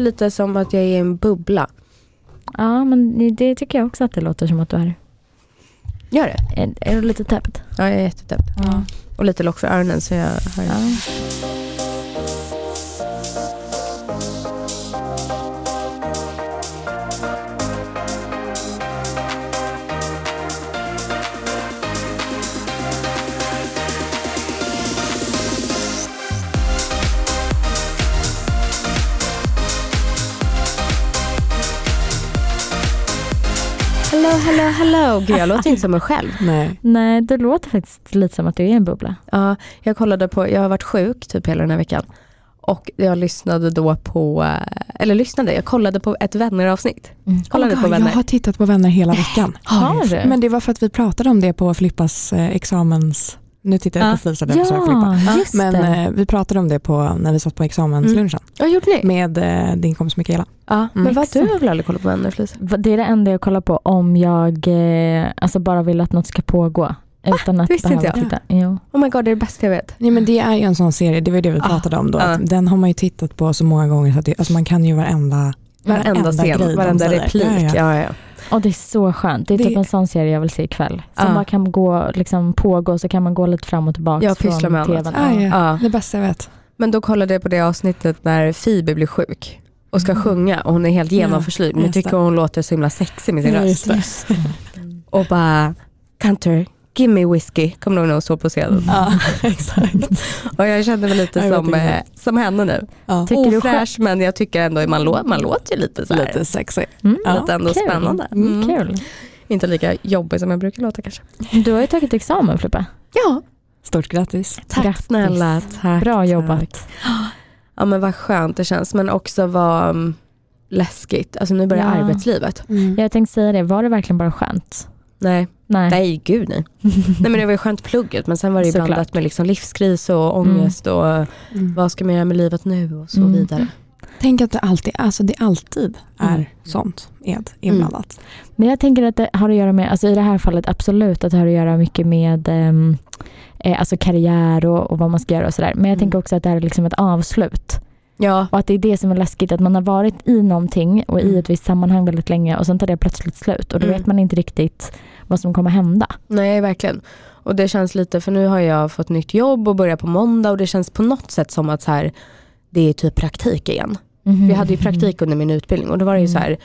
låter lite som att jag är i en bubbla. Ja, men det tycker jag också att det låter som att du är. Gör det? Är, är du lite täppt? Ja, jag är jättetäppt. Ja. Och lite lock för öronen så jag har... ja. Hello, hello, hello. Gud, jag låter inte som mig själv. Nej. Nej, det låter faktiskt lite som att du är i en bubbla. Ja, jag kollade på, jag har varit sjuk typ hela den här veckan. Och jag lyssnade då på, eh, eller lyssnade, jag kollade på ett vänneravsnitt. Kollade Oh på God, vänner. Jag har tittat på Vänner hela veckan. Har du? Men det var för att vi pratade om det på Flippas eh, examens... Nu tittar jag Ja. på Felicia, därför sa jag Flippa. ja, just Men det. eh, vi pratade om det på, när vi satt på examenslunchen Vad gjorde ni? Mm. med eh, din kompis Mikaela. Ja, men vad Exakt. du har väl aldrig kollat på vänner Felicia? Va- Det är det enda jag kollar på om jag eh, alltså bara vill att något ska pågå. Utan att Det visste inte behöva jag. titta. Jo. Oh my god, det är det bästa jag vet. Nej men det är ju en sån serie, det var ju det vi Ah. pratade om då. ja. Att den har man ju tittat på så många gånger så att det, alltså man kan ju varenda Varenda grej de scen, varenda säger. replik. Ja, ja. Ja, ja. Och det är så skönt. Det Ah. är Det- typ en sån serie jag vill se ikväll. Som Ja. bara kan gå, liksom, pågå så kan man gå lite fram och tillbaka Jag pysslar från med annat. tvn. Ah, ja. Ja. Det bästa jag vet. Men då kollade jag på det avsnittet när Phoebe blir sjuk och ska Mm. sjunga och hon är helt Ja, genomförslyd. Men jag just tycker det. hon låter så himla sexig med sin Ja, röst. just det. Och bara, Cantor, give me whiskey. Kommer du ihåg när hon står på scenen? Ja, exakt. Och jag kände mig lite Mm. Jag vet som, inte. eh, som henne nu. Ja. Tycker du Ofräsch men jag tycker ändå att man, lå- man låter ju lite Typ så här. Lite sexig. Mm, Ja, det är ändå kul. spännande. Mm. Mm. Kul. Inte lika jobbig som jag brukar låta kanske. Du har ju tagit examen Flippa. Ja, Stort grattis. tack Grattis. snälla. Tack, Bra tack. jobbat. Ja men vad skönt det känns men också vad mm, läskigt. Alltså nu börjar Ja. arbetslivet. Jag tänkte säga det, var det verkligen bara skönt? Nej, Nej. nej gud nej. nej men det var ju skönt plugget men sen var det ju Såklart. blandat med liksom livskris och ångest och Mm. vad ska man göra med livet nu och så Mm. vidare. Tänk att det alltid, alltså det alltid är Mm. sånt ed inblandat. Men jag tänker att det har att göra med, alltså i det här fallet absolut att det har att göra mycket med ehm, eh, alltså karriär och, och vad man ska göra och sådär. Men jag Mm. tänker också att det här är liksom ett avslut. Ja, Och att det är det som är läskigt, att man har varit i någonting och i Mm. ett visst sammanhang väldigt länge och sen tar det plötsligt slut och då Mm. vet man inte riktigt vad som kommer hända. Nej, verkligen. Och det känns lite, för nu har jag fått nytt jobb och börjar på måndag och det känns på något sätt som att så här, det är typ praktik igen. För Mm. Jag hade ju praktik under min utbildning och då var det ju så här,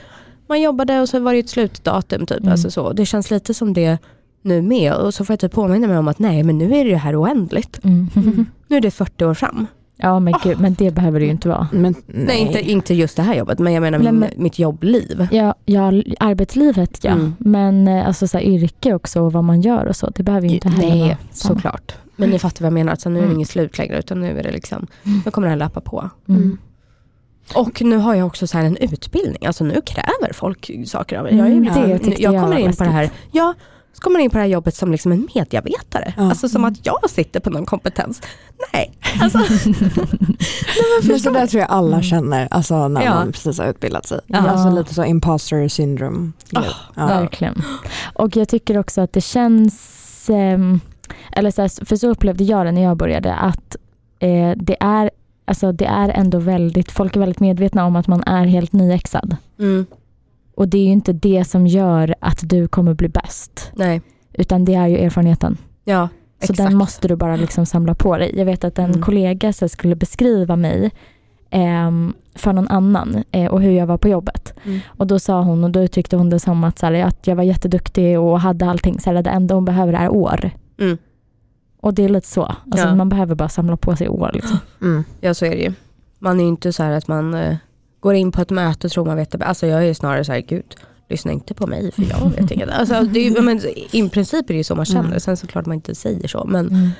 man jobbade och så var det ett slutdatum typ. Mm. Alltså så. Det känns lite som det nu med och så får jag typ påminna mig om att nej men nu är det ju här oändligt. Mm. Mm. Nu är det 40 år fram. Ja men gud, men det behöver det ju inte Mm. vara. Men, Nej, inte, inte just det här jobbet men jag menar Nej, min, men- mitt jobbliv. Ja, ja arbetslivet ja, Mm. men eh, alltså så här, yrke också och vad man gör och så, det behöver ju inte heller Nej vara samma. såklart. Men ni fattar vad jag menar, så nu är det Mm. inget slut längre utan nu är det liksom, nu kommer det här lappa på. Mm. Och nu har jag också så här en utbildning, alltså nu kräver folk saker av mig. Jag, är ju Mm, liksom, det tyckte jag jag kommer var in på det här, läskigt. ja, så kommer jag in på det här jobbet som liksom en medievetare. Ja. Alltså Mm. som att jag sitter på någon kompetens. Nej, alltså. men så där tror jag alla känner alltså, när Ja. man precis har utbildat sig. Ja. Alltså lite så imposter syndrome. Ah, ja. Verkligen. Och jag tycker också att det känns, ehm, eller så här, för så upplevde jag det när jag började, att eh, det, är, alltså det är ändå väldigt, folk är väldigt medvetna om att man är helt nyexad. Mm, Och det är ju inte det som gör att du kommer bli bäst, nej, utan det är ju erfarenheten. ja, Så exakt. den måste du bara liksom samla på dig. Jag vet att en Mm. kollega så här, skulle beskriva mig ehm, för någon annan eh, och hur jag var på jobbet. Mm. Och då sa hon, och då tyckte hon det som att, så här, att jag var jätteduktig och hade allting. Så här, det enda hon behöver är år. Mm. Och det är lite så. Alltså, Ja. Man behöver bara samla på sig år. Liksom. Mm. Ja, så är det ju. Man är ju inte så här att man eh, går in på ett möte och tror man vet det bäst. Alltså jag är ju snarare så här, gud, lyssna inte på mig för jag vet inget. Alltså, det är, ju- men, I princip är det ju så man känner, Mm. sen såklart man inte säger så. Men Mm.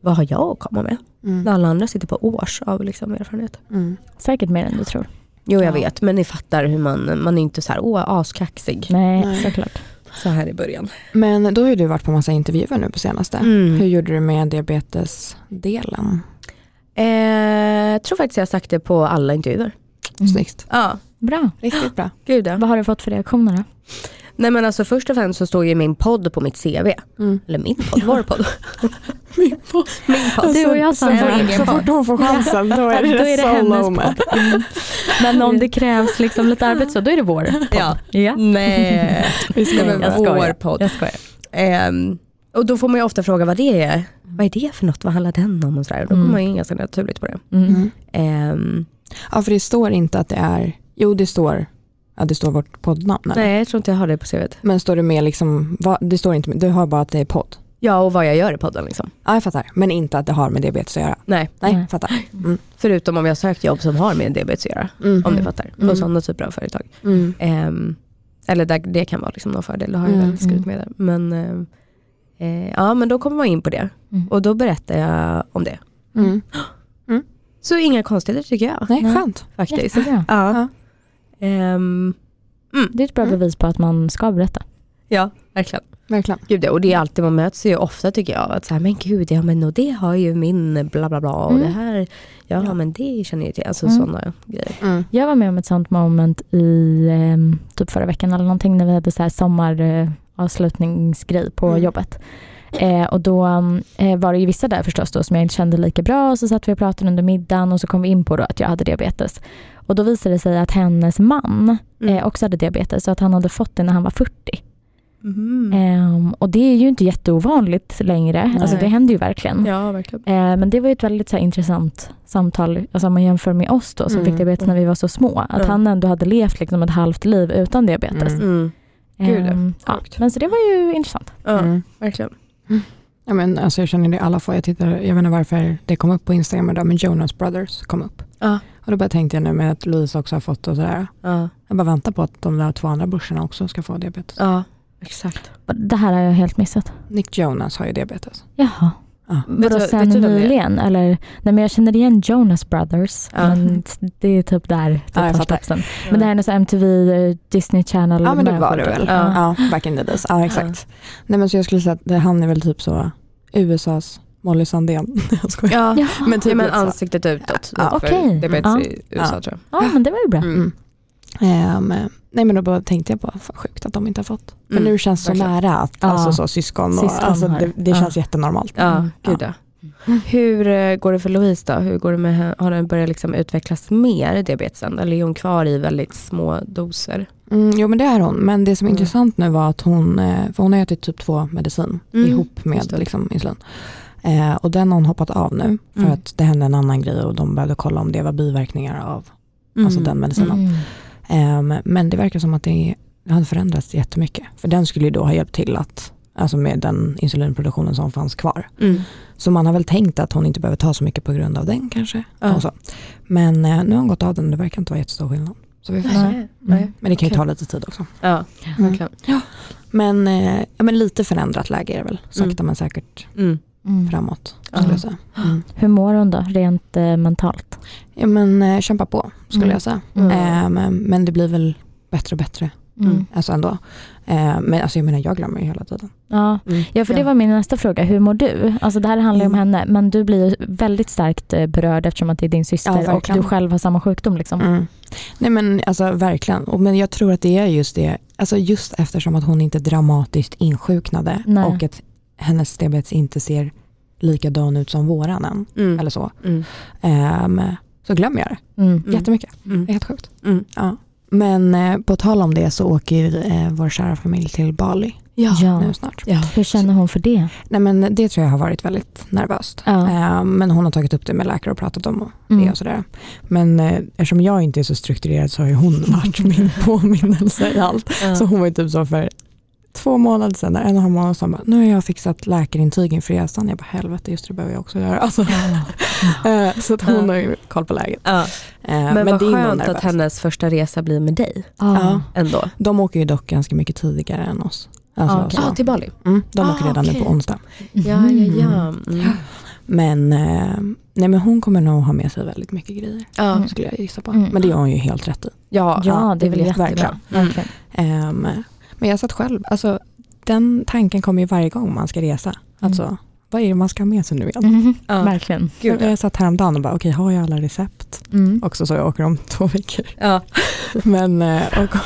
vad har jag att komma med? Mm. När alla andra sitter på års av liksom erfarenhet. Mm. Säkert mer än du tror. Jo jag Ja. vet, men ni fattar hur man, man är inte så här, åh askaxig Nej, Nej. såklart. så här i början. Men då har ju du varit på massa intervjuer nu på senaste. Mm. Hur gjorde du med diabetesdelen? Eh, tror faktiskt jag har sagt det på alla intervjuer. Mm. Snyggt. Ja, Bra. Riktigt bra. gud ja. Vad har du fått för reaktioner då? Nej men alltså först och främst så står ju min podd på mitt CV. Mm. Eller min podd, vår podd. Min podd. Min podd. Du och jag Sen Sandra. vår egen Alltså, Så podd. fort hon får chansen då är det, Då är det solo hennes med. Men om det krävs liksom lite arbete så då är det vår podd. Ja. Ja. Nej, Vi Nej, men Jag vår skojar. podd. Jag skojar. Ehm, och då får man ju ofta fråga vad det är. Vad är det för något? Vad handlar den om? Och sådär. Då kommer Mm. man ju in ganska naturligt på det. Mm. Mm. Ehm, Ja, för det står inte att det är, jo det står, ja, det står vårt poddnamn. eller? nej, jag tror inte jag har det på CVt. Men står det med liksom, vad, det står inte, med- du har bara att det är podd. Ja, och vad jag gör i podden liksom. Ja, jag fattar, men inte att det har med diabetes att göra. Nej, Nej, Nej. jag fattar. förutom om jag sökt jobb som har med diabetes att göra. Mm. Om ni Mm. fattar. På Mm. sådana typer av företag. Mm. Ehm, eller där det kan vara liksom någon fördel, det har jag Mm. väl skrivit med där. Men, ehm, eh, ja, men då kommer man in på det. Mm. Och då berättar jag om det. Mm. Så inga konstigheter tycker jag Nej, Nej. skönt. faktiskt. Jättebra. Ja. Ehm, Det är ett bra Mm. bevis på att man ska berätta. ja, verkligen. Verkligen. Gud, det- och det är alltid, man möts ju ofta tycker jag, att så här, men gud, ja men och det har ju min bla bla bla och Mm. det här, ja, Ja. men det känner jag till, alltså Mm. sådana grejer. Jag var med om ett sånt moment i ehm, typ förra veckan eller någonting när vi hade så här sommaravslutningsgrej på Mm. jobbet. Eh, och då eh, var det ju vissa där förstås då som jag inte kände lika bra och så satt vi och pratade under middagen och så kom vi in på då att jag hade diabetes. Och då visade det sig att hennes man Mm. eh, också hade diabetes och att han hade fått det när han var 40. Mhm. Mm. Ehm, och det är ju inte jätteovanligt längre, Nej. alltså det händer ju verkligen. Ja, verkligen. Eh, Men det var ju ett väldigt så här, intressant samtal, alltså om man jämför med oss då som Mm. fick diabetes när vi var så små, att Mm. han ändå hade levt liksom ett halvt liv utan diabetes. Mm. Mm. Gud, ja. Ehm, ja. Sjukt. Men så det var ju intressant. Ja, Mm. verkligen. Ja, men, alltså, jag känner det i alla fall. Jag, tittar, jag vet inte varför det kom upp på Instagram idag, men Jonas Brothers kom upp. Ja. Och då bara tänkte jag nu med att Louise också har fått och sådär. Ja, Jag bara väntar på att de där två andra brorsorna också ska få diabetes. ja exakt. Det här har jag helt missat. Nick Jonas har ju diabetes. Jaha. Ja. Vet du Vadå vad- sen vet du vem det är? nyligen? Eller, nej men jag känner igen Jonas Brothers, Ja. men det är typ där det Ja, jag tar fattar. snapsen. Men det här är något så här MTV, eh, Disney Channel. Ja men det med- var det väl. Ja. Ja, back in the days. Ja exakt. Nej men så jag skulle säga att det, han är väl typ så USAs Molly Sandén. jag skojar. Ja. Ja, Men Ja, typ men lite så. ansiktet utåt. typ, Ja, för okej. Diabetes Ja. i USA Ja. tror ja men det var ju bra. jag. Mm. Mm. Ehm, nej men då bara tänkte jag bara, fan sjukt att de inte har fått. Men Mm, nu känns det så verkligen. nära att Ja. alltså, så, syskon, och, Syskon alltså, har- det, det ja. känns jättenormalt. Ja, gud Mm. ja. Hur eh, går det för Louise då? Hur går det med, henne? har den börjat liksom utvecklas mer, diabetesen? Eller är hon kvar i väldigt små doser? Mm, jo men det är hon, men det som är Mm. intressant nu var att hon, eh, för hon har ätit typ två medicin Mm, ihop just det. med liksom, insulin. Eh, och den har hon hoppat av nu för Mm. att det hände en annan grej och de behövde kolla om det var biverkningar av alltså den medicinen. Mm. Ehm, men det verkar som att det, det hade förändrats jättemycket. För den skulle ju då ha hjälpt till att, alltså med den insulinproduktionen som fanns kvar. Mm. Så man har väl tänkt att hon inte behöver ta så mycket på grund av den kanske. Ja. Och så. Men eh, nu har hon gått av den, det verkar inte vara jättestor skillnad. Så vi får se. Nej. Nej. Men det kan ju Okej. ta lite tid också. Ja, Mm. verkligen. Men, eh, ja, men lite förändrat läge är det väl, sakta Mm. men säkert Mm. Mm. framåt. Ja. Skulle jag säga. Mm. Hur mår hon då, rent eh, mentalt? Ja, men eh, kämpa på skulle Mm. jag säga. Mm. Eh, men, men det blir väl bättre och bättre Mm. alltså ändå. Eh, men alltså, jag menar jag glömmer ju hela tiden. Ja, Ja, för det Mm. Ja. var min nästa fråga. Hur mår du? Alltså det här handlar ju om Mm. henne, men du blir ju väldigt starkt eh, berörd eftersom att det är din Ja, syster och verkligen. du själv har samma sjukdom. Liksom. Mm. Nej men alltså verkligen. Och, men jag tror att det är just det, alltså just eftersom att hon inte dramatiskt insjuknade Nej. och att hennes diabetes inte ser likadan ut som våran än, Mm. eller så. Mm. Ehm, så glömmer jag det Mm. Mm. jättemycket. Mm. Det är helt sjukt. Mm. Ja. Men eh, på tal om det så åker ju eh, vår kära familj till Bali Ja. Ja. nu snart. Ja. Hur känner hon för det? Nej men det tror jag har varit väldigt nervöst. Ja. Eh, Men hon har tagit upp det med läkare och pratat om det Mm. och sådär. Men eh, eftersom jag inte är så strukturerad så har ju hon varit min påminnelse i allt. Så hon var ju typ så för två månader sedan, en och en halv månad sedan, bara, nu har jag fixat läkarintyg inför resan. Jag bara helvete, just det behöver jag också göra. Alltså, eh, så att hon Ja. har ju koll på läget. Ja. Eh, Men, vad det är nog skönt att nervöst. hennes första resa blir med dig Ja. ändå. De åker ju dock ganska mycket tidigare än oss. Alltså, Ah, okej. så. till Bali. Mm, de Ah, åker redan okej. nu på onsdag. Ja, ja, ja. Mm. Mm. Men, eh, nej, men hon kommer nog ha med sig väldigt mycket grejer, Ja. Mm. skulle jag gissa på. Mm. Men det gör hon ju helt rätt i. Ja. ja, det är väl vet- jättebra. verkligen. Mm. Verkligen. Ehm, men jag satt själv, alltså, den tanken kommer ju varje gång man ska resa. Mm. Alltså, vad är det man ska ha med sig nu igen? Mhm. Ja. Verkligen. Gud, ja. jag satt häromdagen och bara, okej, har jag alla recept? Mm. Också så jag åker om två veckor. Ja. Men, eh, och,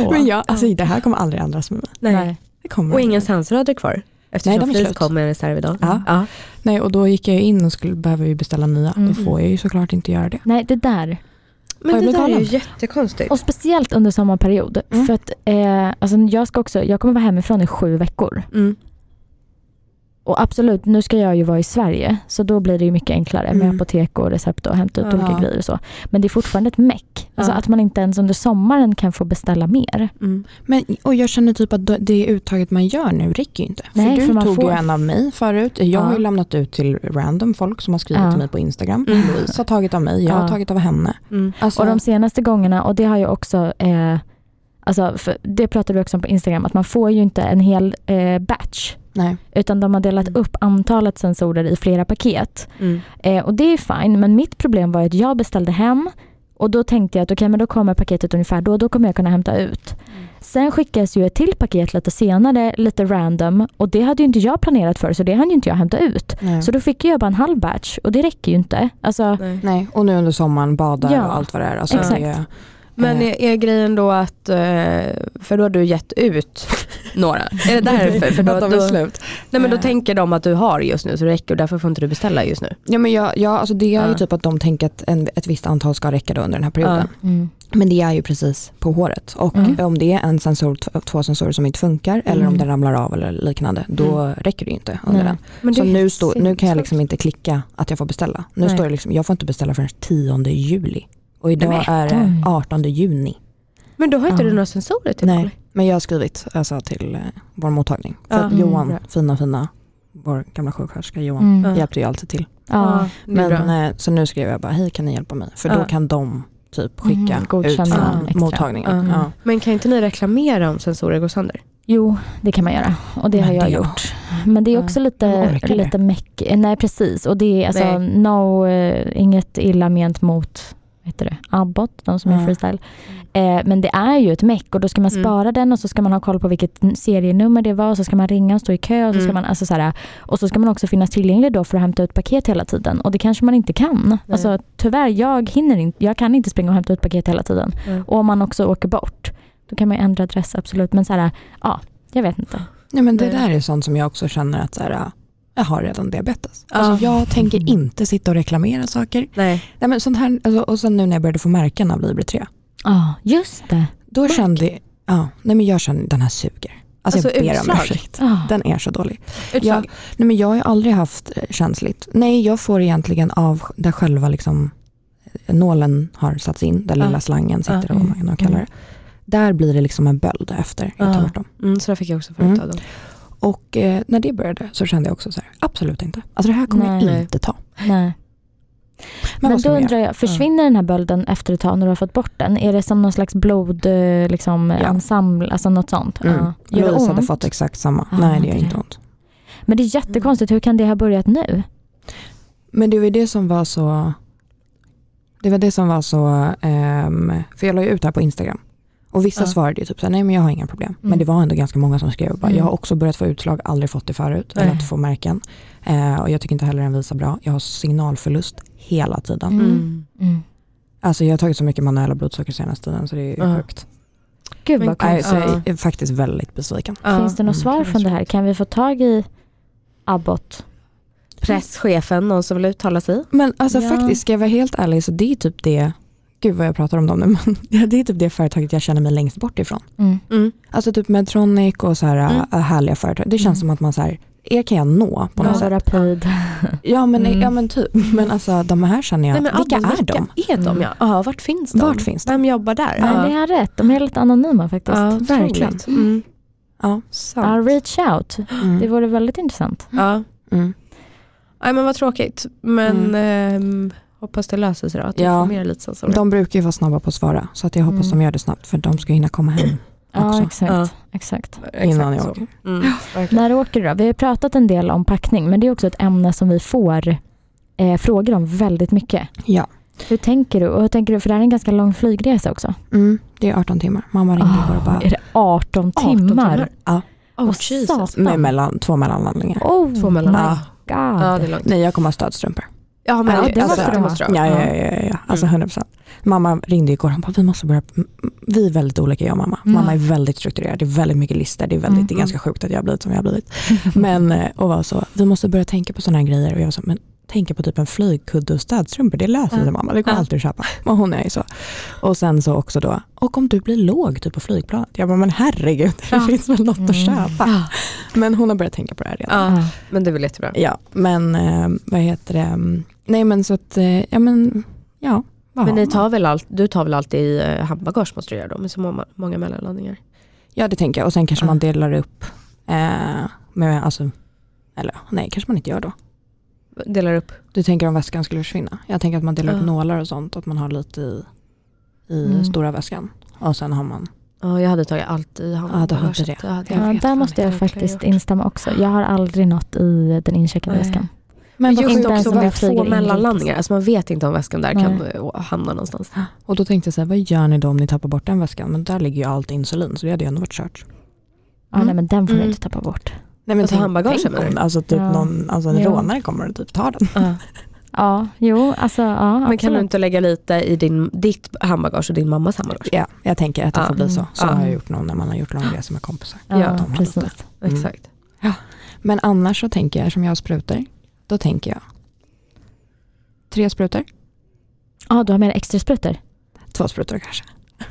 Åh. Men jag, alltså, det här kommer aldrig ändras med mig. Nej. Det kommer Och aldrig. ingen sansröder kvar. Nej, de Eftersom är Flis slut. kom med en reserv idag. Ja. Ja. Nej, och då gick jag ju in och skulle, behöver ju beställa nya. Mm. Då får jag ju såklart inte göra det. Nej, det där. Men Har jag det där är blivit ju galen? jättekonstigt. Och speciellt under sommarperiod. Mm. För att, eh, alltså, jag, ska också, jag kommer vara hemifrån i sju veckor. Mm. Och absolut, nu ska jag ju vara i Sverige. Så då blir det ju mycket enklare med Mm. apotek och recept och hämta ut Ja. olika grejer och så. Men det är fortfarande ett meck. Alltså Ja. att man inte ens under sommaren kan få beställa mer. Mm. Men, och jag känner typ att det uttaget man gör nu räcker ju inte. Nej, för du för man tog får- ju en av mig förut. Jag Ja. har ju lämnat ut till random folk som har skrivit Ja. till mig på Instagram. Mm. Louise har tagit av mig, jag Ja. har tagit av henne. Mm. Alltså, Och de senaste gångerna, och det har jag också, eh, alltså, för det pratade vi också om på Instagram, att man får ju inte en hel eh, batch. nej. Utan de har delat Mm. upp antalet sensorer i flera paket. Mm. Eh, och det är fine, men mitt problem var att jag beställde hem och då tänkte jag att okej, men då kommer paketet ungefär då, då kommer jag kunna hämta ut. Sen skickas ju ett till paket lite senare, lite random och det hade ju inte jag planerat för så det hann ju inte jag hämta ut. Nej. Så då fick ju jag bara en halv batch och det räcker ju inte. Alltså, Nej. nej. Och nu under sommaren, badar Ja, och allt vad det är. Alltså, exakt. Det, Men Eh. är, är grejen då att, eh, för då har du gett ut några? Är det därför? För då, att de är då, slut. nej men då Eh. tänker de att du har just nu så det räcker och därför får inte du beställa just nu. Ja, men jag, jag, alltså det är ju Ja. typ att de tänker att en, ett visst antal ska räcka då under den här perioden. Ja. mm. Men det är ju precis på håret. Och Mm. om det är en sensor, t- två sensorer som inte funkar eller om Mm. den ramlar av eller liknande, då räcker det ju inte under Nej. den. Men Så det är nu, helt står, nu kan jag liksom inte klicka att jag får beställa. Nu Nej. står det liksom, jag får inte beställa förrän 10 juli. Och idag Nej, är det oj. 18 juni. sinnessjukt. Men då har inte Ja. du några sensorer till Nej, Molly? men jag har skrivit alltså, till eh, vår mottagning. För Ja. att Mm, Johan, bra. fina fina, vår gamla sjuksköterska Johan, Mm. Ja. hjälpte ju alltid till. Ja. det är bra. Men, eh, så nu skrev jag bara, hej kan ni hjälpa mig? För Ja. då kan de typ skicka Mm, ut godkänna från extra. mottagningen. Mm. Ja. Men kan inte ni reklamera om sensorer går sönder? Jo, det kan man göra och det Men har jag det- gjort. Men det är Ja. också Men lite, orkar det? lite meck. eh, Nej precis och det är alltså Nej. no, eh, inget illa ment mot vad heter det, Abbott, de som är Ja. freestyle. Eh, men det är ju ett meck och då ska man Mm. spara den och så ska man ha koll på vilket n- serienummer det var och så ska man ringa och stå i kö och så, Mm. ska, man, alltså, så här, och så ska man också finnas tillgänglig då för att hämta ut paket hela tiden och det kanske man inte kan. Nej. Alltså, tyvärr, jag hinner inte, jag kan inte springa och hämta ut paket hela tiden. Och om man också åker bort, då kan man ju ändra adress absolut. Men så här, ja, jag vet inte. Nej, men det Nej. där är sånt som jag också känner att så här, ah, jag har redan diabetes. Ja. Alltså, jag tänker inte sitta och reklamera saker. Nej. Nej, men sånt här, alltså, och sen nu när jag började få märken av Libre3, Ja, just det. då kände jag, ja, nej, men jag kände den här suger. Alltså, Alltså, jag ber utslag. om ursäkt. Ja. Den är så dålig. Utslag? Jag, nej, men jag har ju aldrig haft eh, känsligt. Nej, jag får egentligen av där själva liksom, eh, nålen har satts in, där Ja. lilla slangen sitter, Ja. eller vad man kallar Mm. det. Där blir det liksom en böld efter jag Ja. tar bort dem. Mm, så där fick jag också förut Mm. av dem. Och eh, när det började så kände jag också så här, absolut inte. Alltså det här kommer Nej. jag inte ta. Nej. Men, Men, vad ska då man göra? undrar jag, försvinner den här bölden efter ett tag när du har fått bort den? Är det som någon slags blod, eh, liksom, Ja. ensemble, alltså något sånt? Mm. Ja. Gör det Louise hade ont? fått exakt samma. Ja, Nej, det gör okej. inte ont. Men det är jättekonstigt, hur kan det ha börjat nu? Men det var ju det som var så... Det var det som var så... ehm, för jag la ju ut det här på Instagram. Och vissa Ja. svarade ju typ så här, nej men jag har inga problem. Mm. Men det var ändå ganska många som skrev bara, Mm. jag har också börjat få utslag, aldrig fått det förut, Nej. eller att få märken. Eh, och jag tycker inte heller den visar bra. Jag har signalförlust hela tiden. Mm. Mm. Mm. Alltså jag har tagit så mycket manuella blodsocker senaste tiden så det är ju Ja. sjukt. Gud Men- vad Nej, konstigt. så jag är faktiskt väldigt besviken. Ja. Finns det något Mm. svar från det här? Kan vi få tag i Abbott? Presschefen, någon som vill uttala sig? Men alltså Ja. faktiskt, ska jag vara helt ärlig så det är typ det, gud vad jag pratar om dem nu, men det är typ det företaget jag känner mig längst bort ifrån. Mm. Mm. Alltså typ Medtronic och så här Mm. äh, härliga företag. Det känns Mm. som att man så här, er kan jag nå på Ja. något Alltså sätt. Rapid. Ja men, Mm. ja men typ, men alltså de här känner Nej, jag, men vilka Abbas, är de? Vilka är de Mm. ja? Ja, vart finns de? Vart finns de? Vem jobbar där? Ja. Det är rätt, de är lite anonyma faktiskt. Ja, verkligen. Otroligt. Mm. Ja. Ja, Sant. reach out, Mm. det vore väldigt intressant. Ja. Mm. Nej men vad tråkigt. Men ehm, hoppas det löser sig då. Att du Ja. får med dig lite sensorer. De brukar ju vara snabba på att svara så att jag hoppas Mm. de gör det snabbt för de ska hinna komma hem Ja, Också. exakt. Ja. exakt. innan jag så. åker. Mm. verkligen. När åker du då? Vi har ju pratat en del om packning men det är också ett ämne som vi får eh, frågor om väldigt mycket. Ja. Hur tänker du? Och hur tänker du? För det här är en ganska lång flygresa också. Mm. Det är 18 timmar. Mamma ringde Ah, igår och bara, är det 18 timmar? 18 timmar. Ja. Oh, Åh, Jesus. Mm. satan. med mellan, två mellanlandningar. Oh Två mellan- my Ja. god. Ja det är långt. Nej jag kommer ha stödstrumpor. Ja men Ja, det, alltså, det måste de det ha. måste de ha. Ja, ja, ja, ja, ja. Mm. alltså 100 procent. Mamma ringde igår och bara, vi måste börja, m- m- vi är väldigt olika jag och mamma. Mm. Mamma är väldigt strukturerad, det är väldigt mycket listor, det är, väldigt, det är Mm. ganska sjukt att jag har blivit som jag har blivit. Men, eh, och var så, vi måste börja tänka på sådana här grejer och jag sa, men tänka på typ en flygkudde och städstrumpor, det löser Ja. sig mamma, det går Mm. Ja. alltid att köpa. Och hon är ju så. Och sen så också då, och om du blir låg typ på flygplanet, jag bara, men herregud, det Ja. finns väl något Mm. att köpa. Men hon har börjat tänka på det här redan. Ah, Ja, men det är väl jättebra. Ja, men eh, vad heter det? Mm, Nej men så att, eh, ja men, ja. vad Men har ni man? tar väl allt, du tar väl alltid eh, handbagage måste du göra då med så många, många mellanlandningar? Ja det tänker jag och sen kanske Ja. man delar upp eh, med, alltså, eller nej kanske man inte gör då. Delar upp? Du tänker om väskan skulle försvinna. Jag tänker att man delar Ja. upp nålar och sånt, att man har lite i, i Mm. stora väskan. Och sen har man, Ja, jag hade tagit allt i handbagage. Ja, du hade det. Jag hade- Ja, vet där fan måste inte jag vad jag faktiskt gjort. instämma också. Jag har aldrig nått i den incheckade Nej. väskan. men Men vad just inte ens också om det bara flyger få inrikes. mellanlandningar, alltså man vet inte om väskan där Nej. kan eh, hamna någonstans. Och då tänkte jag så här, vad gör ni då om ni tappar bort den väskan? Men där ligger ju allt insulin så det hade ju ändå varit kört. Ja, Mm. nej, men den får Mm. jag inte tappa bort. Nej Alltså, handbagage, tänk menar om, du? alltså typ Ja. någon, alltså en Ja. rånare kommer och typ tar den. Ja, jo, alltså ja. Men kan du absolut. inte lägga lite i din, ditt handbagage och din mammas handbagage? Ja, jag tänker att det Ja. får bli så. Så Ja. har jag gjort någon när man har gjort långresa med kompisar. Ja, Ja, de har precis. Mm. Exakt. Men annars så tänker jag, som jag har sprutor, då tänker jag tre sprutor, Ja, du har med dig extra sprutor. två sprutor kanske.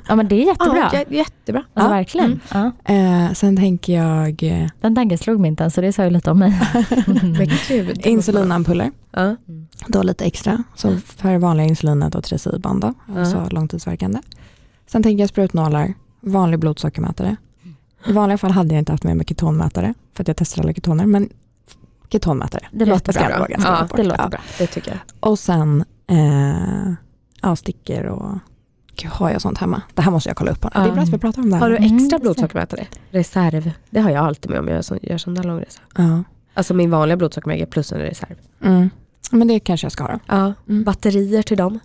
Ja, men det är jättebra. Ah, Ja, jä- jättebra. Alltså Ja. verkligen. Mm. Ja. Eh, sen tänker jag eh, Den tanken slog mig inte ens så det sa ju lite om mig. Men gud. insulinampuller, Mm. Ja. då lite extra. Så för vanliga insulinet och Tresiban då, alltså långtidsverkande. Sen tänker jag sprutnålar, vanlig blodsockermätare. I vanliga fall hade jag inte haft med mig ketonmätare, för att jag testar alla ketoner, men ketonmätare. Det låter ska bra. jag våga skriva Ja, bort. Det låter Ja. bra. Det tycker jag. Och sen eh, ja, stickor och Gud, har jag sånt hemma? Det här måste jag kolla upp. Det är bra att vi pratar om det här. Har du Mm, extra precis. blodsockermätare? Reserv. Det har jag alltid med om jag så- gör sån där långresa. Ja. Alltså min vanliga blodsockermätare plus en reserv. Mm. Men det kanske jag ska ha då. Ja. Mm. Batterier till dem.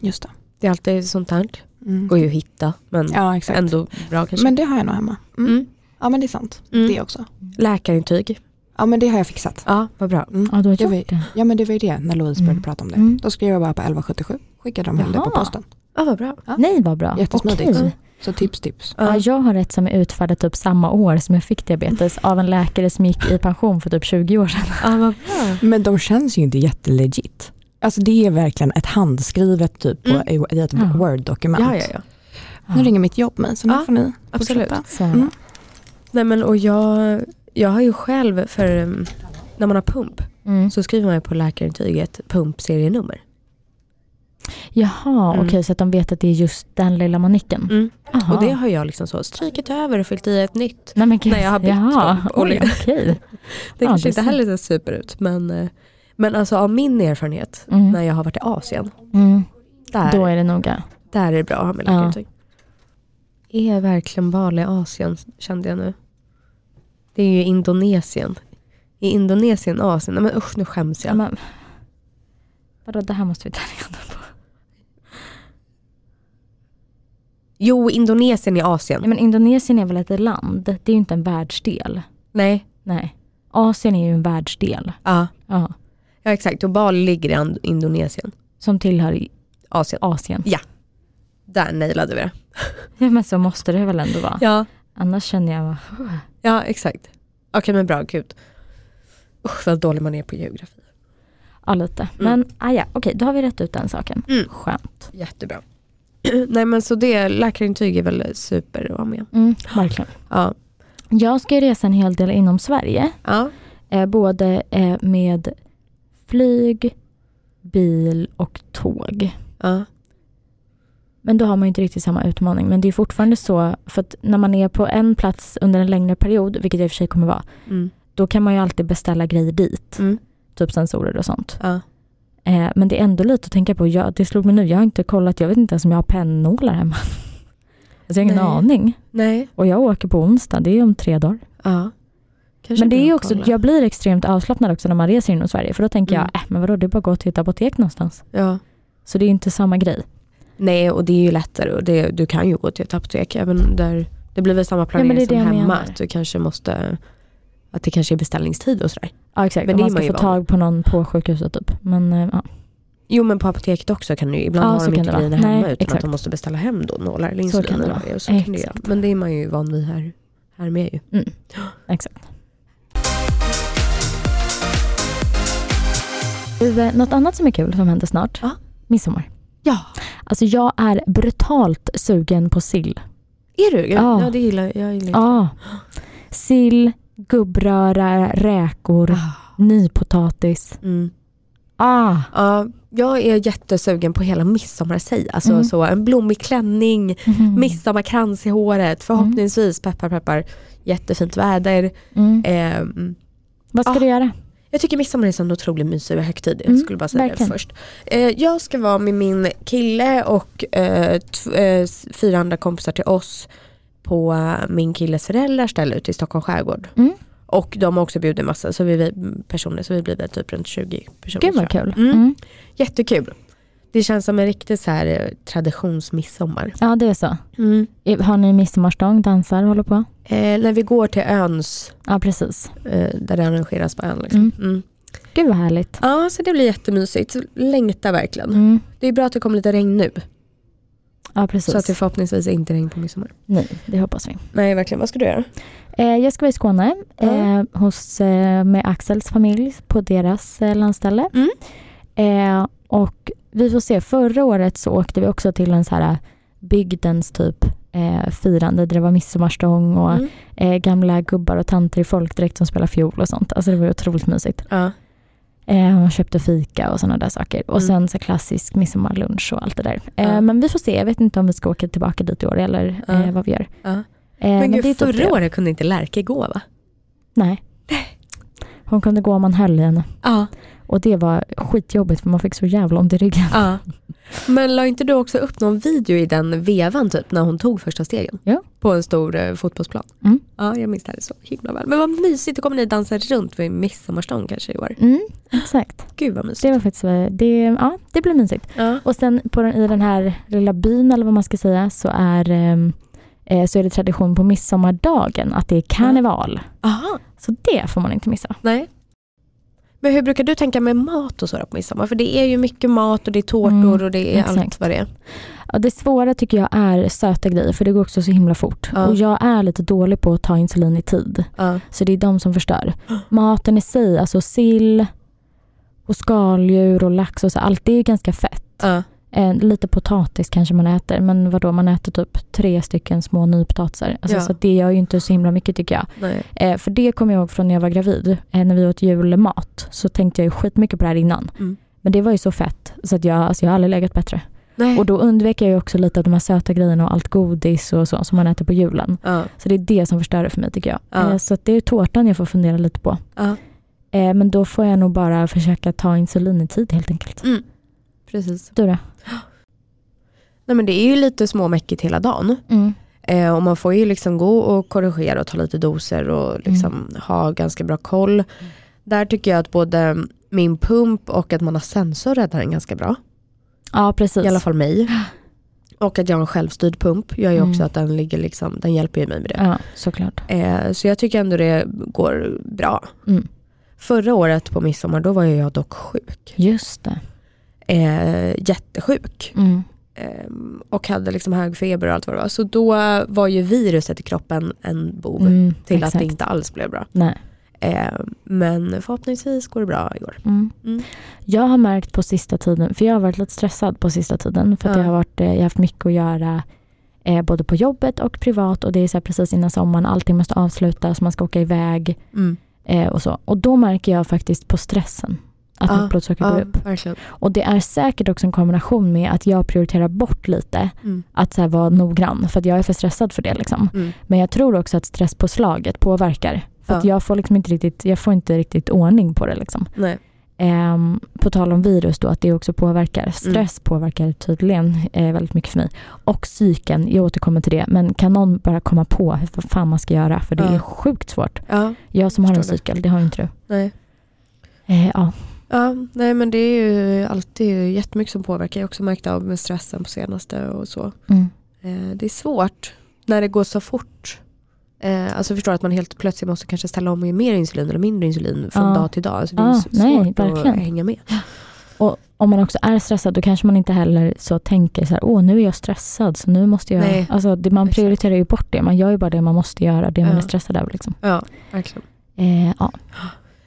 Just det. Det är alltid sånt här. Mm. Går ju att hitta men Ja, exakt. ändå bra kanske. Men det har jag nog hemma. Mm. Mm. Ja, men det är sant. Mm. Det också. Läkarintyg. Ja, men det har jag fixat. Ja, vad bra. Mm. Ja, du har Jag gjort vet. det. Ja, men det var ju det när Louise började Mm. prata om det. Mm. Då skrev jag bara på 1177, skickade dem hem det på Jaha. posten. Ja, Mm. vad bra. Ja. Nej, vad bra. Jättesmidigt. Okej. Så tips, tips. Ja, jag har ett som är utfärdat typ samma år som jag fick diabetes av en läkare som gick i pension för typ 20 år sedan. ja, vad bra. Men de känns ju inte jättelegit. Alltså det är verkligen ett handskrivet typ på, Mm. i ett Ja. Word-dokument. Ja, ja, ja. Nu ringer mitt jobb mig, så nu Ja, får ni Absolut. fortsätta. Så, Mm. Nej men och jag, jag har ju själv för um, när man har pump mm. så skriver man ju på läkarintyget pumpserienummer. Jaha, Mm. okej, så att de vet att det är just den lilla manicken. Jaha. Och det har jag liksom så strykit över och fyllt i ett nytt. Nej, men gud. Nej, jag har bytt typ Jaha, dem. oj, Oj. okej. Det Ja, kanske det inte ser- heller ser super ut men, eh, men alltså av min erfarenhet Mm. när jag har varit i Asien, Mm. där, Då är det noga. där är det bra att ha med Ja. läkarintyg. Är verkligen Bali Asien kände jag nu. Det är ju Indonesien. I Indonesien Asien, nej men usch nu skäms jag. Men, vadå, det här måste vi ta reda på. Jo Indonesien i Asien. Nej, men Indonesien är väl ett land? Det är ju inte en världsdel. Nej, Nej. Asien är ju en världsdel. ja. Ja. Ja exakt, och Bali ligger i And- Indonesien, Som tillhör i- Asien. Asien. Där nailade vi det. Ja, men så måste det väl ändå vara. Ja, Annars känner jag, ja exakt. Okej men bra, gud. Usch vad dålig man är på geografi. ja lite. Men ah, ja, okej, då har vi rätt ut den saken. Mm. Skönt. Jättebra. Nej men så det, läkarintyg är väl super att ha med. Mm, verkligen. Ja. Jag ska ju resa en hel del inom Sverige. ja. Eh, både eh, med flyg, bil och tåg. ja. Men då har man ju inte riktigt samma utmaning. Men det är fortfarande så, för att när man är på en plats under en längre period, vilket jag i och för sig kommer vara, Mm. då kan man ju alltid beställa grejer dit. Mm. Typ sensorer och sånt. ja. Eh, men det är ändå lite att tänka på. Jag, det slog mig nu, jag har inte kollat, jag vet inte ens om jag har pennnålar hemma. Alltså jag har ingen Nej. aning. Nej. Och jag åker på onsdag, det är om tre dagar. Ja. Kanske men det är bra ju att också, kolla. jag blir extremt avslappnad också när man reser inom Sverige. För då tänker Mm. jag, äh, men vadå, det är bara att gå till ett apotek någonstans. Ja. Så det är ju inte samma grej. Nej och det är ju lättare och det, du kan ju gå till ett apotek även där. Det blir väl samma men planering det är som det jag hemma. menar. Att du kanske måste, att det kanske är beställningstid och sådär. Ja exakt, Men om det är man man ska ju få van vid. tag på någon på sjukhuset typ. Men eh, ja. Jo men på apoteket också kan du ju, ibland Ja, har så de kan inte det vara. grejerna hemma utan Nej, att exakt. de måste beställa hem då nålar eller Så kan insulin det eller vara. vad det är. Så kan det göra. Exakt. Men det är man ju van vid här, här med ju. Exakt. Du, eh, Något annat som är kul som händer snart? Ja. Midsommar. Ja. Alltså jag är brutalt sugen på sill. Är du? Jag, Ja. ja det gillar jag. Gillar inte. Ja. Sill, gubbröra, räkor, nypotatis. Mm. Ah, Ja, jag är jättesugen på hela midsommar i sig. Alltså Mm. så en blommig klänning, Mhm. midsommarkrans i håret, förhoppningsvis peppar peppar, jättefint väder. Mm. Ehm, Vad ska Ah. du göra? jag tycker midsommar är en sån otroligt mysig och högtid. Mm, Jag skulle bara säga verkligen. det först. Eh, jag ska vara med min kille och eh, tv- eh, s- fyra andra kompisar till oss på eh, min killes föräldrars ställe ute i Stockholms skärgård. Mm. Och de har också bjudit massa så vi, vi- personer, så vi blir väl typ runt 20 personer. Gud tror jag. vad kul. Mm. Mm. Jättekul. Det känns som en riktig så här eh, traditionsmidsommar. Ja, det är så. I- Har ni midsommarstång, dansar, håller på? Eh, när vi går till öns, Ja, precis. eh, där det arrangeras på ön. Liksom. Mm. Mm. Gud vad härligt. Ja, så det blir jättemysigt. Längtar verkligen. Mm. Det är bra att det kommer lite regn nu. Ja, precis. Så att det förhoppningsvis inte regn på midsommar. Nej, det hoppas vi. Nej, verkligen. Vad ska du göra? Eh, jag ska vara i Skåne eh, Ja. hos, eh, med Axels familj på deras eh, landställe. Mm. Eh, och vi får se, förra året så åkte vi också till en så här eh, bygdens typ eh, firande där det var midsommarstång och Mm. eh, gamla gubbar och tanter i folkdräkt som spelar fiol och sånt. Alltså det var ju otroligt mysigt. Ja. Eh, hon köpte fika och sådana där saker. Och Mm. sen så klassisk midsommarlunch och allt det där. Eh, Ja. Men vi får se, jag vet inte om vi ska åka tillbaka dit i år eller Ja. eh, vad vi gör. Ja. Eh, Men gud, det är typ det. förra året kunde inte Lärke gå va? Nej. Hon kunde gå om man höll i henne. Ja. Och det var skitjobbigt för man fick så jävla ont i ryggen. ja. Men la inte du också upp någon video i den vevan typ när hon tog första stegen? Ja. På en stor eh, fotbollsplan? Mm. Ja, jag minns det här så himla väl. Men vad mysigt, då kommer ni dansa runt vid midsommarstång kanske i år. Mm, exakt. Gud vad mysigt. Det var faktiskt, det, ja, det blev mysigt. Ja. Och sen på den, i den här lilla byn eller vad man ska säga så är, ehm, eh, så är det tradition på midsommardagen att det är karneval. Aha, Så det får man inte missa. nej. Men hur brukar du tänka med mat och sådär på midsommar? För det är ju mycket mat och det är tårtor Mm, och det är exakt. allt vad det är. Ja, det svåra tycker jag är söta grejer för det går också så himla fort. Ja. Och jag är lite dålig på att ta insulin i tid. Ja. Så det är de som förstör. Maten i sig, alltså sill och skaldjur och lax och så, allt det är ganska fett. Ja. Eh, lite potatis kanske man äter, men vadå, man äter typ tre stycken små nypotatisar. Alltså, Ja. Så att det gör ju inte så himla mycket tycker jag. Nej. Eh, för det kommer jag ihåg från när jag var gravid, eh, när vi åt julmat, så tänkte jag ju skitmycket på det här innan. Mm. Men det var ju så fett, så att jag, alltså, jag har aldrig legat bättre. Nej. Och då undvek jag ju också lite av de här söta grejerna och allt godis och så som man äter på julen. Ja. Så det är det som förstör det för mig tycker jag. Ja. Eh, Så att det är tårtan jag får fundera lite på. Ja. Eh, Men då får jag nog bara försöka ta insulin i tid helt enkelt. Mm. Precis. Du då? Nej men det är ju lite småmäckigt hela dagen. Eh, och man får ju liksom gå och korrigera och ta lite doser Mm. och liksom ha ganska bra koll. Där tycker jag att både min pump och att man har sensor räddar en ganska bra. Ja, precis. I alla fall mig. Och att jag har en självstyrd pump gör ju Mm. också att den, ligger liksom, den hjälper ju mig med det. Ja, såklart. Eh, så jag tycker ändå det går bra. Mm. Förra året på midsommar då var ju jag dock sjuk. Just det. Eh, jättesjuk. Mm. Ehm, och hade liksom hög feber och allt vad det var. Så då var ju viruset i kroppen en bov Mm, till exakt. att det inte alls blev bra. Nej. Ehm, men förhoppningsvis går det bra i år. Mm. Mm. Jag har märkt på sista tiden, för jag har varit lite stressad på sista tiden för att Ja. jag, har varit, eh, jag har haft mycket att göra eh, både på jobbet och privat och det är så här precis innan sommaren, allting måste avslutas, man ska åka iväg Mm. eh, och så. Och då märker jag faktiskt på stressen att Ja, mitt blodsocker går Ja, upp. verkligen. Och det är säkert också en kombination med att jag prioriterar bort lite Mm. att så här vara noggrann för att jag är för stressad för det. Liksom. Mm. Men jag tror också att stresspåslaget påverkar. För att Ja. jag får liksom inte riktigt, jag får inte riktigt ordning på det. Liksom. Nej. Ehm, på tal om virus då, att det också Mm. påverkar. Stress påverkar tydligen eh, väldigt mycket för mig. Och psyken, jag återkommer till det. Men kan någon bara komma på hur vad fan man ska göra? För det Ja. är sjukt svårt. Ja, Jag som har en Förstår det. cykel, det har ju inte du. nej. Eh, ja. Ja, nej men det är ju alltid jättemycket som påverkar. Jag har också märkt av med stressen på senaste och så. Mm. Eh, det är svårt när det går så fort. Eh, alltså förstår att man helt plötsligt måste kanske ställa om och ge mer insulin eller mindre insulin från Ja. dag till dag. Alltså det är Ja, ju så nej, svårt verkligen. att hänga med. om man också är stressad då kanske man inte heller så tänker så här, åh nu är jag stressad så nu måste jag... Nej. Alltså, det, man Exakt. prioriterar ju bort det, man gör ju bara det man måste göra, det man Ja. är stressad över. Liksom. Ja, verkligen. Eh, ja.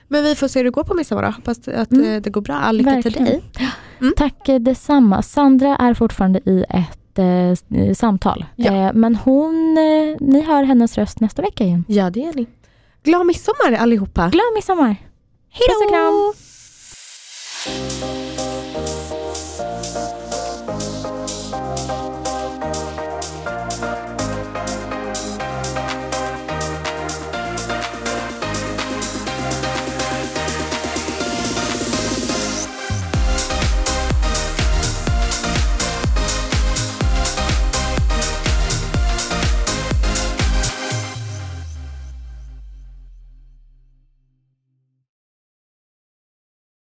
Men vi får se hur det går på midsommar då. Hoppas att Mm. eh, det går bra. All lycka till Verkligen. dig. Mm. Tack eh, detsamma. Sandra är fortfarande i ett eh, s- eh, samtal. Ja. Eh, men hon, eh, ni hör hennes röst nästa vecka igen. Ja, det är ni. Glad midsommar allihopa. Glad midsommar! Hej Puss och kram.